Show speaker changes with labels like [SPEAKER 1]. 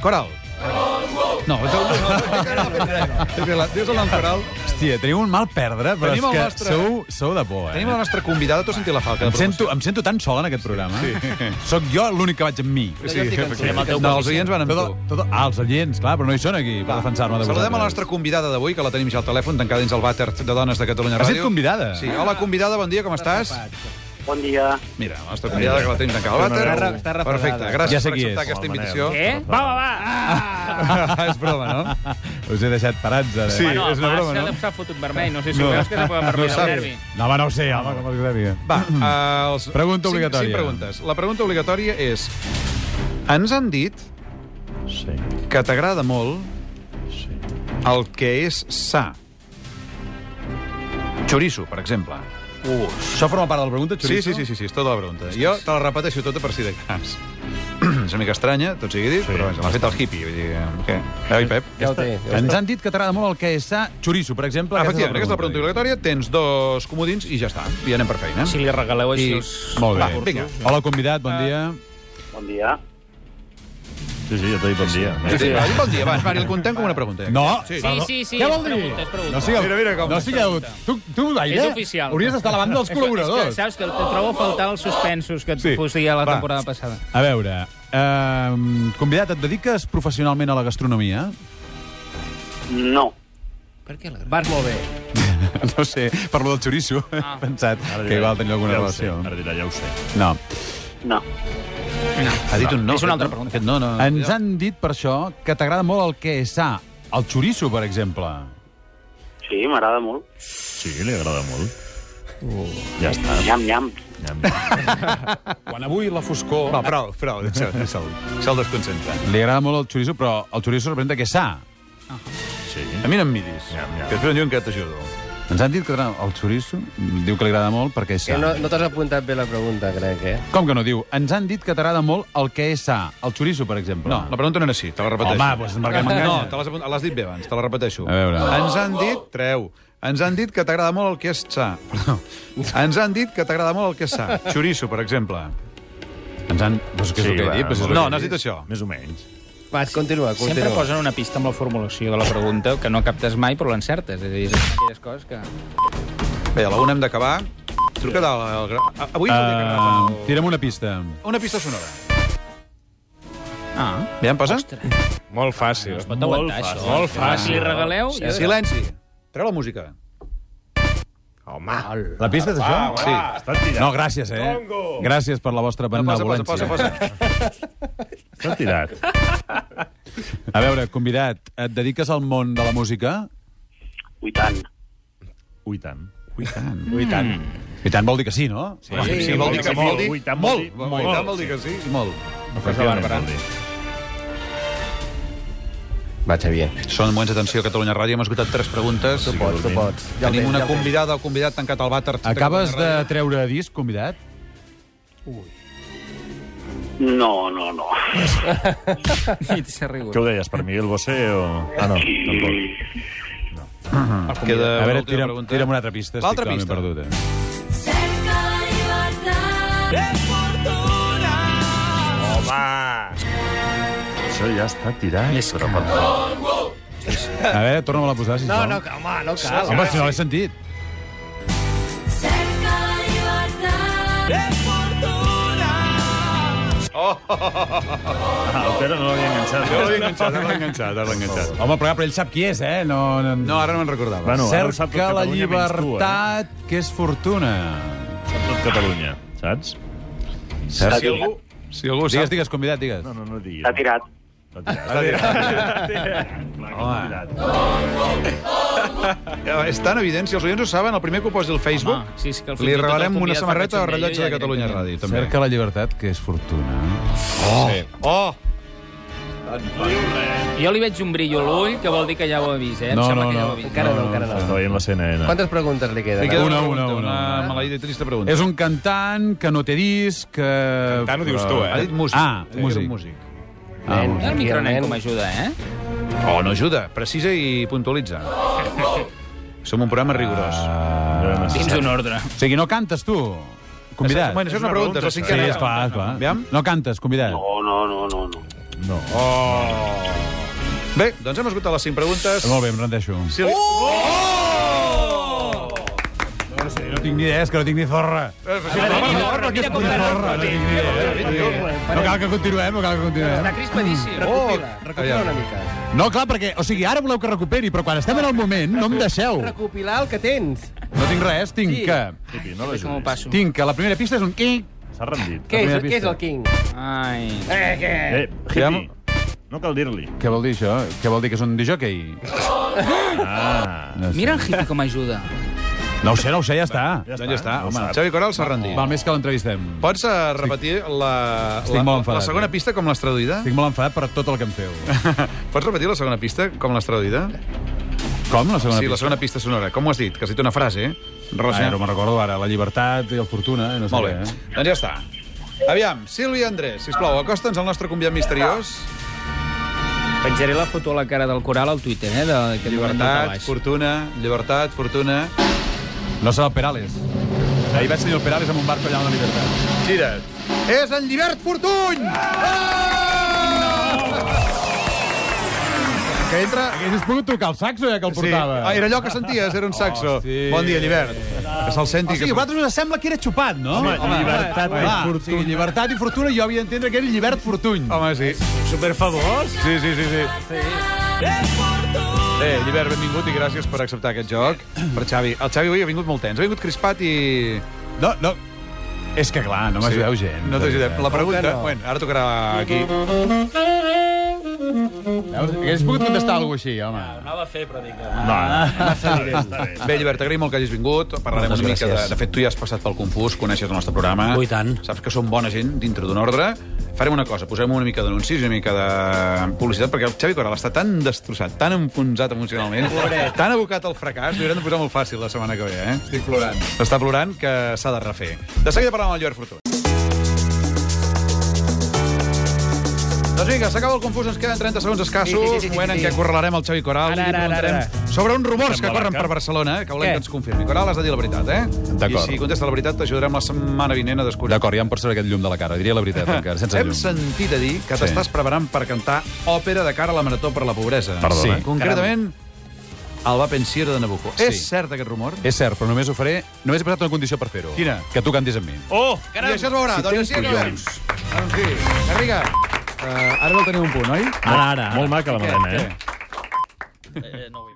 [SPEAKER 1] Coral. No, no, no, no. Dius el nom Coral.
[SPEAKER 2] Hòstia, teniu un mal perdre, però
[SPEAKER 1] Tenim el
[SPEAKER 2] és que
[SPEAKER 1] nostre-
[SPEAKER 2] sou, sou de por, eh?
[SPEAKER 1] Tenim la nostra convidada, tu sentir la falca.
[SPEAKER 2] Em
[SPEAKER 1] de
[SPEAKER 2] sento, em sento tan sol en aquest programa. Sí. Soc jo l'únic que vaig amb mi.
[SPEAKER 1] Sí,
[SPEAKER 3] Ja fiquen-
[SPEAKER 1] efectivament.
[SPEAKER 3] amb el teu
[SPEAKER 1] No, els
[SPEAKER 3] coeficient.
[SPEAKER 1] oients van amb
[SPEAKER 2] Tot,
[SPEAKER 1] tu.
[SPEAKER 2] el- tot, el- ah, els aliens, clar, però no hi són aquí per defensar-me de
[SPEAKER 1] Saludem a la
[SPEAKER 2] vosaltres.
[SPEAKER 1] nostra convidada d'avui, que la tenim ja al telèfon, tancada dins el vàter de dones de Catalunya
[SPEAKER 2] Ha
[SPEAKER 1] Ràdio.
[SPEAKER 2] set convidada.
[SPEAKER 1] Sí. Hola, convidada, bon dia, com estàs?
[SPEAKER 4] Bon dia.
[SPEAKER 1] Mira, la nostra convidada, que la tenim tancada al
[SPEAKER 3] Està
[SPEAKER 1] vàter.
[SPEAKER 3] re- està refredada.
[SPEAKER 1] Perfecte, gràcies
[SPEAKER 2] Ja sé
[SPEAKER 1] per
[SPEAKER 2] qui
[SPEAKER 1] acceptar
[SPEAKER 2] és.
[SPEAKER 1] aquesta
[SPEAKER 3] Home,
[SPEAKER 1] invitació.
[SPEAKER 5] Què? Va, va, va! Ah!
[SPEAKER 2] és broma, no? Us he deixat parats, ara.
[SPEAKER 5] Sí, bueno,
[SPEAKER 2] és una broma, no?
[SPEAKER 5] Deu s'ha fotut vermell, no sé si no. veus que s'ha fotut vermell no
[SPEAKER 2] saps.
[SPEAKER 5] el nervi.
[SPEAKER 2] No, home, no ho sé, home, com es devia.
[SPEAKER 1] Va, eh, els...
[SPEAKER 2] Pregunta
[SPEAKER 1] cinc-
[SPEAKER 2] obligatòria.
[SPEAKER 1] Cinc preguntes. La pregunta obligatòria és... Ens han dit
[SPEAKER 2] Sí,
[SPEAKER 1] que t'agrada molt
[SPEAKER 2] sí.
[SPEAKER 1] el que és sa. Chorizo, per exemple.
[SPEAKER 2] Això forma part de la pregunta,
[SPEAKER 1] Sí,
[SPEAKER 2] Chorizo?
[SPEAKER 1] sí, sí, sí, sí, és tota la pregunta. Jo te la repeteixo tota per si de cas. és una mica estranya, tot sigui dit, sí.
[SPEAKER 2] Sí.
[SPEAKER 1] però vaja, l'ha fet el hippie. Vull dir, que- què? Oi, Pep?
[SPEAKER 3] Ja ho té. Ja ho
[SPEAKER 2] Ens
[SPEAKER 3] té.
[SPEAKER 2] han dit que t'agrada molt el que és sa chorizo, per exemple.
[SPEAKER 1] Efectivament, aquesta és la pregunta obligatòria. Tens dos comodins i ja està. I anem per feina.
[SPEAKER 5] Si li regaleu
[SPEAKER 1] I-
[SPEAKER 5] així... us...
[SPEAKER 2] Molt bé.
[SPEAKER 1] Va, vinga.
[SPEAKER 2] Hola, convidat, bon dia.
[SPEAKER 4] Bon dia.
[SPEAKER 6] Sí, sí, ja t'he dit bon dia.
[SPEAKER 1] Sí, sí, va, bon dia, va, va, el contem com una pregunta.
[SPEAKER 2] No,
[SPEAKER 1] Sí,
[SPEAKER 5] Sí, sí, sí,
[SPEAKER 2] Què
[SPEAKER 5] és
[SPEAKER 2] vol dir?
[SPEAKER 5] pregunta, és pregunta.
[SPEAKER 2] No sigueu...
[SPEAKER 1] Mira, mira com-
[SPEAKER 2] no sigueu... Tu, tu, Aire,
[SPEAKER 5] És oficial.
[SPEAKER 2] hauries d'estar a la banda dels
[SPEAKER 5] És que- És
[SPEAKER 2] col·laboradors.
[SPEAKER 5] que, saps que te trobo a faltar els suspensos que et
[SPEAKER 2] Sí.
[SPEAKER 5] sí. fosia la
[SPEAKER 2] Va.
[SPEAKER 5] temporada passada.
[SPEAKER 2] A veure, eh,
[SPEAKER 1] ehm,
[SPEAKER 2] convidat, et dediques professionalment a la gastronomia?
[SPEAKER 4] No.
[SPEAKER 5] Per què la Vas molt bé.
[SPEAKER 2] No sé, parlo del xoriço. Ah.
[SPEAKER 5] Ah.
[SPEAKER 2] He pensat que igual tenia alguna
[SPEAKER 6] ja ho
[SPEAKER 2] relació.
[SPEAKER 6] Sé, ara dirà, ja ho sé.
[SPEAKER 2] No.
[SPEAKER 4] No.
[SPEAKER 1] Ha dit un no.
[SPEAKER 5] És una altra
[SPEAKER 1] aquest no.
[SPEAKER 5] pregunta.
[SPEAKER 1] Aquest no, no.
[SPEAKER 2] Ens han dit, per això, que t'agrada molt el que és sa. El xoriço, per exemple.
[SPEAKER 4] Sí, m'agrada molt.
[SPEAKER 6] Sí, li agrada molt. Ja està.
[SPEAKER 4] Nyam, nyam.
[SPEAKER 6] Nyam, nyam.
[SPEAKER 3] Quan avui la foscor...
[SPEAKER 1] Va, prou, prou, deixa'l, deixa'l. Se'l desconcentra.
[SPEAKER 2] Li agrada molt el xoriço, però el xoriço representa que és sa.
[SPEAKER 6] Sí.
[SPEAKER 1] A mi no em miris,
[SPEAKER 6] Ja, ja.
[SPEAKER 1] que després em diuen que t'ajudo.
[SPEAKER 2] Ens han dit que t'agrada- el xoriço diu que li agrada molt perquè és
[SPEAKER 3] Que
[SPEAKER 2] sa.
[SPEAKER 3] no, no t'has apuntat bé la pregunta, crec, eh?
[SPEAKER 2] Com que no diu? Ens han dit que t'agrada molt el que és sa. El xoriço, per exemple.
[SPEAKER 1] No, la pregunta no era així, te la repeteixo.
[SPEAKER 2] Home, doncs perquè
[SPEAKER 1] No,
[SPEAKER 2] m'enganya.
[SPEAKER 1] te l'has apunt- l'has dit bé abans, te la repeteixo.
[SPEAKER 2] A veure.
[SPEAKER 1] Ens han dit, treu, ens han dit que t'agrada molt el que és sa. Perdó. Ens han dit que t'agrada molt el que és sa. Xoriço, per exemple.
[SPEAKER 2] Ens han... Però és que és el que he dit. Però és el
[SPEAKER 1] No,
[SPEAKER 2] que he
[SPEAKER 1] n'has
[SPEAKER 2] dit.
[SPEAKER 1] dit això.
[SPEAKER 6] Més o menys.
[SPEAKER 3] Va, continua, continua.
[SPEAKER 5] Sempre posen una pista amb la formulació de la pregunta que no captes mai, però l'encertes. És a dir, és aquelles coses que...
[SPEAKER 1] Bé, a la una hem d'acabar. Truca del... El... gra- Ah, Avui és el dia que
[SPEAKER 2] Uh,
[SPEAKER 1] agradava.
[SPEAKER 2] tira'm una pista.
[SPEAKER 1] Una pista sonora.
[SPEAKER 5] Ah,
[SPEAKER 1] Ja em passa?
[SPEAKER 7] Molt fàcil.
[SPEAKER 5] es pot aguantar,
[SPEAKER 6] fàcil.
[SPEAKER 5] això.
[SPEAKER 7] Molt fàcil.
[SPEAKER 5] Si li regaleu... Ja...
[SPEAKER 1] Silenci. Treu la música.
[SPEAKER 7] Home.
[SPEAKER 2] La pista és això?
[SPEAKER 1] Sí.
[SPEAKER 6] Està tirat.
[SPEAKER 2] Ah, No, gràcies, eh? Gràcies per la vostra
[SPEAKER 1] Posa,
[SPEAKER 2] benevolència.
[SPEAKER 1] posa, posa, posa.
[SPEAKER 6] Està tirat.
[SPEAKER 2] A veure, convidat, et dediques al món de la música?
[SPEAKER 4] Ui, tant.
[SPEAKER 6] Ui, tant. Mm.
[SPEAKER 2] I tant. I tant vol dir que sí, no? Sí.
[SPEAKER 1] Sí, vol dir que vol dir...
[SPEAKER 6] Ui, tant vol
[SPEAKER 1] Molt,
[SPEAKER 6] dir-
[SPEAKER 1] vol
[SPEAKER 6] molt.
[SPEAKER 1] dir- tant vol dir que sí. Molt.
[SPEAKER 6] Efectivament,
[SPEAKER 1] eh?
[SPEAKER 6] vol dir.
[SPEAKER 3] Va, Xavier.
[SPEAKER 1] Són moments d'atenció a Catalunya Ràdio. Hem escoltat tres preguntes.
[SPEAKER 3] Tu pots, tu pots. Ja el
[SPEAKER 1] Tenim
[SPEAKER 3] tens,
[SPEAKER 1] una
[SPEAKER 3] ja el tens.
[SPEAKER 1] convidada o convidat tancat al vàter. Catalunya
[SPEAKER 2] Acabes de
[SPEAKER 1] Ràdio.
[SPEAKER 2] treure disc, convidat?
[SPEAKER 4] No, no, no.
[SPEAKER 5] I s'ha rigut.
[SPEAKER 6] Què ho deies, per Miguel Bosé o... Ah, no, tampoc.
[SPEAKER 1] Queda
[SPEAKER 2] A veure,
[SPEAKER 1] l'última
[SPEAKER 2] tira'm,
[SPEAKER 1] pregunta.
[SPEAKER 2] tira'm una altra pista. estic
[SPEAKER 1] L'altra
[SPEAKER 2] totalment
[SPEAKER 1] pista.
[SPEAKER 2] Perdut, eh?
[SPEAKER 8] Cerca llibertat.
[SPEAKER 6] Això ja està tirat.
[SPEAKER 5] És
[SPEAKER 6] Però, per favor.
[SPEAKER 2] eh? A veure, torna-me-la a posar, sisplau.
[SPEAKER 3] home, no cal.
[SPEAKER 2] Home, si no l'he sentit.
[SPEAKER 8] Cerca llibertat.
[SPEAKER 6] Ah, el Pere no l'havia enganxat. No l'havia enganxat.
[SPEAKER 1] Ara l'ha enganxat, ara l'ha enganxat.
[SPEAKER 2] Home, però, però ell sap qui és, eh? No, no,
[SPEAKER 1] No, ara no me'n recordava.
[SPEAKER 6] Bueno, ara ho sap tot
[SPEAKER 2] Cerca la
[SPEAKER 6] Catalunya menys tu, eh?
[SPEAKER 2] llibertat, que és fortuna.
[SPEAKER 6] Sap tot Catalunya, saps?
[SPEAKER 2] Cerca...
[SPEAKER 4] Si algú-
[SPEAKER 2] si algú digues, digues, convidat, digues.
[SPEAKER 6] No, no, no diguis.
[SPEAKER 4] T'ha tirat.
[SPEAKER 6] Està tirat. Està tirat. Clar que està tirat.
[SPEAKER 1] Ja, És tan evident, si els oients ho saben, el primer que ho posi al Facebook,
[SPEAKER 5] Home, sí, és que al
[SPEAKER 1] li
[SPEAKER 5] Facebook
[SPEAKER 1] regalarem
[SPEAKER 5] el
[SPEAKER 1] una
[SPEAKER 5] convidat
[SPEAKER 1] samarreta
[SPEAKER 5] fa
[SPEAKER 1] o
[SPEAKER 5] que
[SPEAKER 1] rellotge
[SPEAKER 5] xingueia
[SPEAKER 1] de
[SPEAKER 5] i
[SPEAKER 1] Catalunya Ràdio, també.
[SPEAKER 2] Cerca la llibertat, que és fortuna.
[SPEAKER 1] Oh!
[SPEAKER 5] Jo li veig un brillo a l'ull, que vol dir que ja ho ha vist, eh? Em
[SPEAKER 2] No,
[SPEAKER 5] sembla
[SPEAKER 2] no,
[SPEAKER 5] que ja ho
[SPEAKER 2] no.
[SPEAKER 5] ha vist.
[SPEAKER 3] Encara no, encara
[SPEAKER 6] Està
[SPEAKER 3] no.
[SPEAKER 6] veient la CNN.
[SPEAKER 3] Quantes preguntes li
[SPEAKER 1] Li
[SPEAKER 3] queden?
[SPEAKER 1] queda una,
[SPEAKER 2] Una, una,
[SPEAKER 1] pregunta,
[SPEAKER 2] una,
[SPEAKER 1] una
[SPEAKER 2] una.
[SPEAKER 1] maleïda i trista pregunta.
[SPEAKER 2] És un cantant que no té disc, que...
[SPEAKER 7] Cantant ho dius tu, eh?
[SPEAKER 1] Ha dit músic.
[SPEAKER 2] Ah,
[SPEAKER 1] Sí,
[SPEAKER 2] músic.
[SPEAKER 1] era un músic.
[SPEAKER 2] Ah,
[SPEAKER 3] Nen.
[SPEAKER 2] molt bé.
[SPEAKER 5] El micronen com ajuda, eh?
[SPEAKER 1] Oh, no ajuda. Precisa i puntualitza. Som un programa rigorós.
[SPEAKER 6] Ah,
[SPEAKER 5] Dins d'un ordre.
[SPEAKER 2] O sigui, no cantes tu, convidat.
[SPEAKER 1] Bueno, això és una pregunta, és la
[SPEAKER 2] Sí,
[SPEAKER 1] cinquena.
[SPEAKER 2] esclar, esclar.
[SPEAKER 4] Oh,
[SPEAKER 1] Aviam.
[SPEAKER 2] No cantes, convidat.
[SPEAKER 4] No, no, no, no, no.
[SPEAKER 6] No.
[SPEAKER 1] Oh! Bé, doncs hem escoltat les 5 preguntes.
[SPEAKER 2] Molt bé, em rendeixo.
[SPEAKER 1] Si li... oh!
[SPEAKER 2] No tinc ni idea, és que no tinc ni forra.
[SPEAKER 5] Mira com va anar.
[SPEAKER 2] Forra, no tinc ni idea. No cal que continuem, no cal que
[SPEAKER 3] Està
[SPEAKER 2] continuem.
[SPEAKER 3] crispadíssim.
[SPEAKER 1] Mm.
[SPEAKER 3] Recopila,
[SPEAKER 2] Oh,
[SPEAKER 3] recopila una mica.
[SPEAKER 2] No, clar, perquè, o sigui, ara voleu que recuperi, però quan estem en el moment no em deixeu.
[SPEAKER 3] Recopilar el que tens.
[SPEAKER 2] No tinc res, tinc
[SPEAKER 3] Sí.
[SPEAKER 2] que...
[SPEAKER 6] Pipi, no
[SPEAKER 5] Com ho
[SPEAKER 6] l'ajudis.
[SPEAKER 5] passo?
[SPEAKER 2] Tinc que la primera pista és un quinc.
[SPEAKER 6] S'ha rendit.
[SPEAKER 3] Què és,
[SPEAKER 2] primera
[SPEAKER 3] què és
[SPEAKER 2] pista.
[SPEAKER 3] el King?
[SPEAKER 5] Ai.
[SPEAKER 6] Eh,
[SPEAKER 2] Ja-
[SPEAKER 6] hippie. No cal dir-li.
[SPEAKER 2] Què vol dir això? Què vol dir que és un dijòquei?
[SPEAKER 6] Ah,
[SPEAKER 5] Mira el hippie com ajuda.
[SPEAKER 2] No ho sé, no ho sé, ja està.
[SPEAKER 6] ja
[SPEAKER 1] Doncs ja està,
[SPEAKER 6] no ho
[SPEAKER 1] home.
[SPEAKER 6] sap.
[SPEAKER 1] Xavi Coral s'ha rendit.
[SPEAKER 2] Val més que l'entrevistem.
[SPEAKER 1] Pots eh, repetir la,
[SPEAKER 2] Estic
[SPEAKER 1] la,
[SPEAKER 2] molt enfadat,
[SPEAKER 1] la segona
[SPEAKER 2] eh?
[SPEAKER 1] pista com l'has traduïda?
[SPEAKER 2] Estic molt enfadat per tot el que em feu.
[SPEAKER 1] Pots repetir la segona pista com l'has traduïda?
[SPEAKER 2] Com, la segona
[SPEAKER 1] sí, la segona pista sonora. Com ho has dit? Que has dit una frase, eh?
[SPEAKER 2] Ah,
[SPEAKER 1] Relacionada.
[SPEAKER 2] no me'n recordo ara. La llibertat i el fortuna, eh, no sé
[SPEAKER 1] Molt
[SPEAKER 2] què.
[SPEAKER 1] bé.
[SPEAKER 2] eh?
[SPEAKER 1] Doncs ja està. Aviam, Sílvia Andrés, sisplau, acosta'ns al nostre convidat misteriós.
[SPEAKER 5] Penjaré la foto a la cara del coral al Twitter, eh? De, que
[SPEAKER 1] Llibertat, fortuna, llibertat, fortuna...
[SPEAKER 2] No serà el Perales. Ahir vaig tenir el Perales amb un barco allà a la llibertat.
[SPEAKER 1] Gira't. És en Llibert Fortuny! Ah! Que entra...
[SPEAKER 2] Haguessis pogut tocar el saxo, ja que el portava.
[SPEAKER 1] Ah, era allò que senties, era un saxo.
[SPEAKER 2] sí. Ah,
[SPEAKER 1] Bon dia, Llibert. Que se'l senti.
[SPEAKER 2] O sigui, a
[SPEAKER 1] que...
[SPEAKER 2] vosaltres us sembla que era xupat, no?
[SPEAKER 6] Home, llibertat i
[SPEAKER 2] clar,
[SPEAKER 6] fortuna.
[SPEAKER 2] o sigui, llibertat i fortuna, jo havia d'entendre que era llibert fortuny.
[SPEAKER 1] Home, sí.
[SPEAKER 6] Superfavors?
[SPEAKER 1] Sí, sí, sí, sí. Bé, Llibert, benvingut i gràcies per acceptar aquest joc. Per Xavi. El Xavi avui ha vingut molt tens. Ha vingut crispat i...
[SPEAKER 2] No, no. És que, clar, no m'ajudeu gens.
[SPEAKER 1] No t'ajudem. La pregunta...
[SPEAKER 3] no?
[SPEAKER 1] Bueno, ara tocarà aquí.
[SPEAKER 2] Veus? Haguessis pogut contestar alguna cosa així, home.
[SPEAKER 6] Ah. Està bé, està bé.
[SPEAKER 1] Bé, Llibert, t'agraïm molt que hagis vingut. Parlarem
[SPEAKER 3] Moltes
[SPEAKER 1] una mica de...
[SPEAKER 3] gràcies.
[SPEAKER 1] De fet, tu ja has passat pel Confús, coneixes el nostre programa.
[SPEAKER 9] Oh, i tant.
[SPEAKER 1] Saps que som bona gent dintre d'un ordre. Farem una cosa, posem una mica d'anuncis i una mica de publicitat, perquè el Xavi Coral està tan destrossat, tan enfonsat emocionalment, tan abocat al fracàs, li haurem de posar molt fàcil la setmana que ve, eh? Estic plorant. Està plorant que s'ha de refer. De seguida parlem amb el Llorer Fortuna. Doncs vinga, s'acaba el confús, ens queden 30 segons escassos, sí, sí, sí, sí, moment en què correlarem el Xavi Coral
[SPEAKER 5] Ara,
[SPEAKER 1] i li
[SPEAKER 5] ara, ara,
[SPEAKER 1] preguntarem sobre uns rumors que
[SPEAKER 6] Sembla
[SPEAKER 1] corren
[SPEAKER 6] vaca.
[SPEAKER 1] per Barcelona, eh, que volem
[SPEAKER 5] Què?
[SPEAKER 1] que ens confirmi. Coral, has de dir la veritat, eh? I
[SPEAKER 2] D'acord.
[SPEAKER 1] si contesta la veritat, t'ajudarem la setmana vinent a descobrir. Ah,
[SPEAKER 2] D'acord, ja em pots treure aquest llum de la cara. Diria la veritat, encara, sense
[SPEAKER 1] Hem
[SPEAKER 2] llum.
[SPEAKER 1] sentit a dir que
[SPEAKER 2] Sí.
[SPEAKER 1] t'estàs preparant per cantar òpera de cara a la Marató per la Pobresa.
[SPEAKER 2] Perdona.
[SPEAKER 1] Sí. Concretament, el Va Pensiero de Nabucco.
[SPEAKER 2] Sí. Eh,
[SPEAKER 1] És cert aquest rumor?
[SPEAKER 2] És cert, però només ho faré... Només he posat una condició per fer-ho.
[SPEAKER 1] Quina?
[SPEAKER 2] Que tu cantis amb mi.
[SPEAKER 6] Oh!
[SPEAKER 1] I això es veurà.
[SPEAKER 2] si
[SPEAKER 1] doncs
[SPEAKER 2] tens
[SPEAKER 1] sí,
[SPEAKER 2] collons.
[SPEAKER 1] Doncs sí. Garriga, uh, ara deu tenir un punt, oi?
[SPEAKER 6] Ara, ara. Molt maca la
[SPEAKER 1] Què?
[SPEAKER 6] melena,
[SPEAKER 1] Què?
[SPEAKER 6] eh?
[SPEAKER 9] Eh, no vull.